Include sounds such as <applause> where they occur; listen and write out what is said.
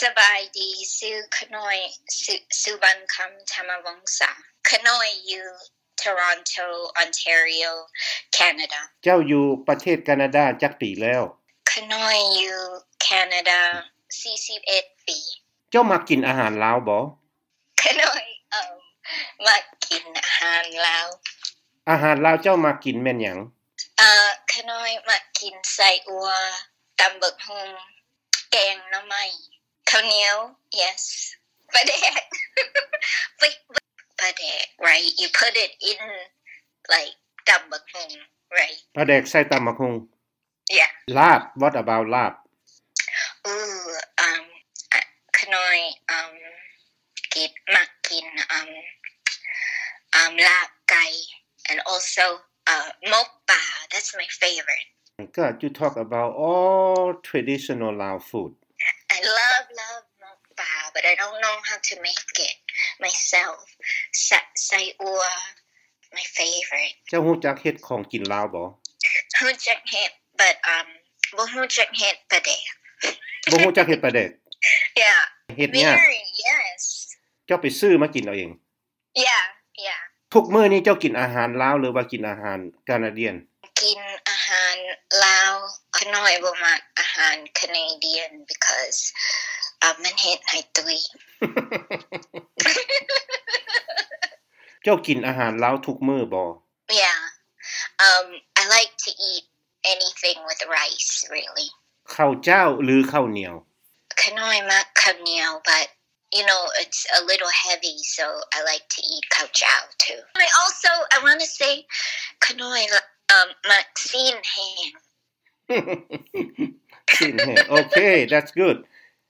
สบายดีซื้อขนอยซอสุบันคำธรรมวงศาขนอยอยู่ Toronto Ontario Canada เจ้าอยู่ประเทศแคนาดาจักปีแล้ว ขนอยอยู่ Canada 41 ปี เจ้ามากินอาหารลาวบ่ ขนอยเอ่อมากินอาหารลาว อาหารลาวเจ้ามากินแม่นหยัง เอ่อขนอยมากินไส้อัวตำบักฮุงแกงหน่อไม้ข้าวเหนียว yes ปลาแดก <laughs> wait wait ปลาแดก right you put it in like ตำบักฮุง right ปลาแดกใส่ตำมะคง yeah ลาบ what about ลาบ Ooh, um, uh, kanoi, um, git makin, um, um, lap gai, and also, uh, mokba. That's my favorite. ก็ you talk about all traditional Lao food I love, love mokba, but I don't know how to make it myself. Sa- sai ua, my favorite. <laughs> เจ้าฮู้จักเฮ็ดของกินลาวบ่ Who jack hit, but, um, well, who jack hit, but eh. บ่ฮู้จักเฮ็ดปลาแดก Yeah. เฮ็ดยาก Very, yes. เจ้าไปซื้อมากินเอาเอง Yeah, yeah. ทุกมื้อนี้เจ้ากินอาหารลาวหรือว่ากินอาหารแคนาเดียน กินอาหารลาวขน้อยบ่มักอาหาร Canadian because อ่ามันเฮ็ดให้ตุย เจ้ากินอาหารลาวทุกมื้อบ่ yeah um I like to eat anything with rice really ข้าวเจ้าหรือข้าวเหนียว <laughs> ขน้อยมักข้าวเหนียว but you know it's a little heavy so I like to eat khao chow too I also I want to say ขน้อยอ่ามักซีนแห้ง Sin hair. Okay, that's good.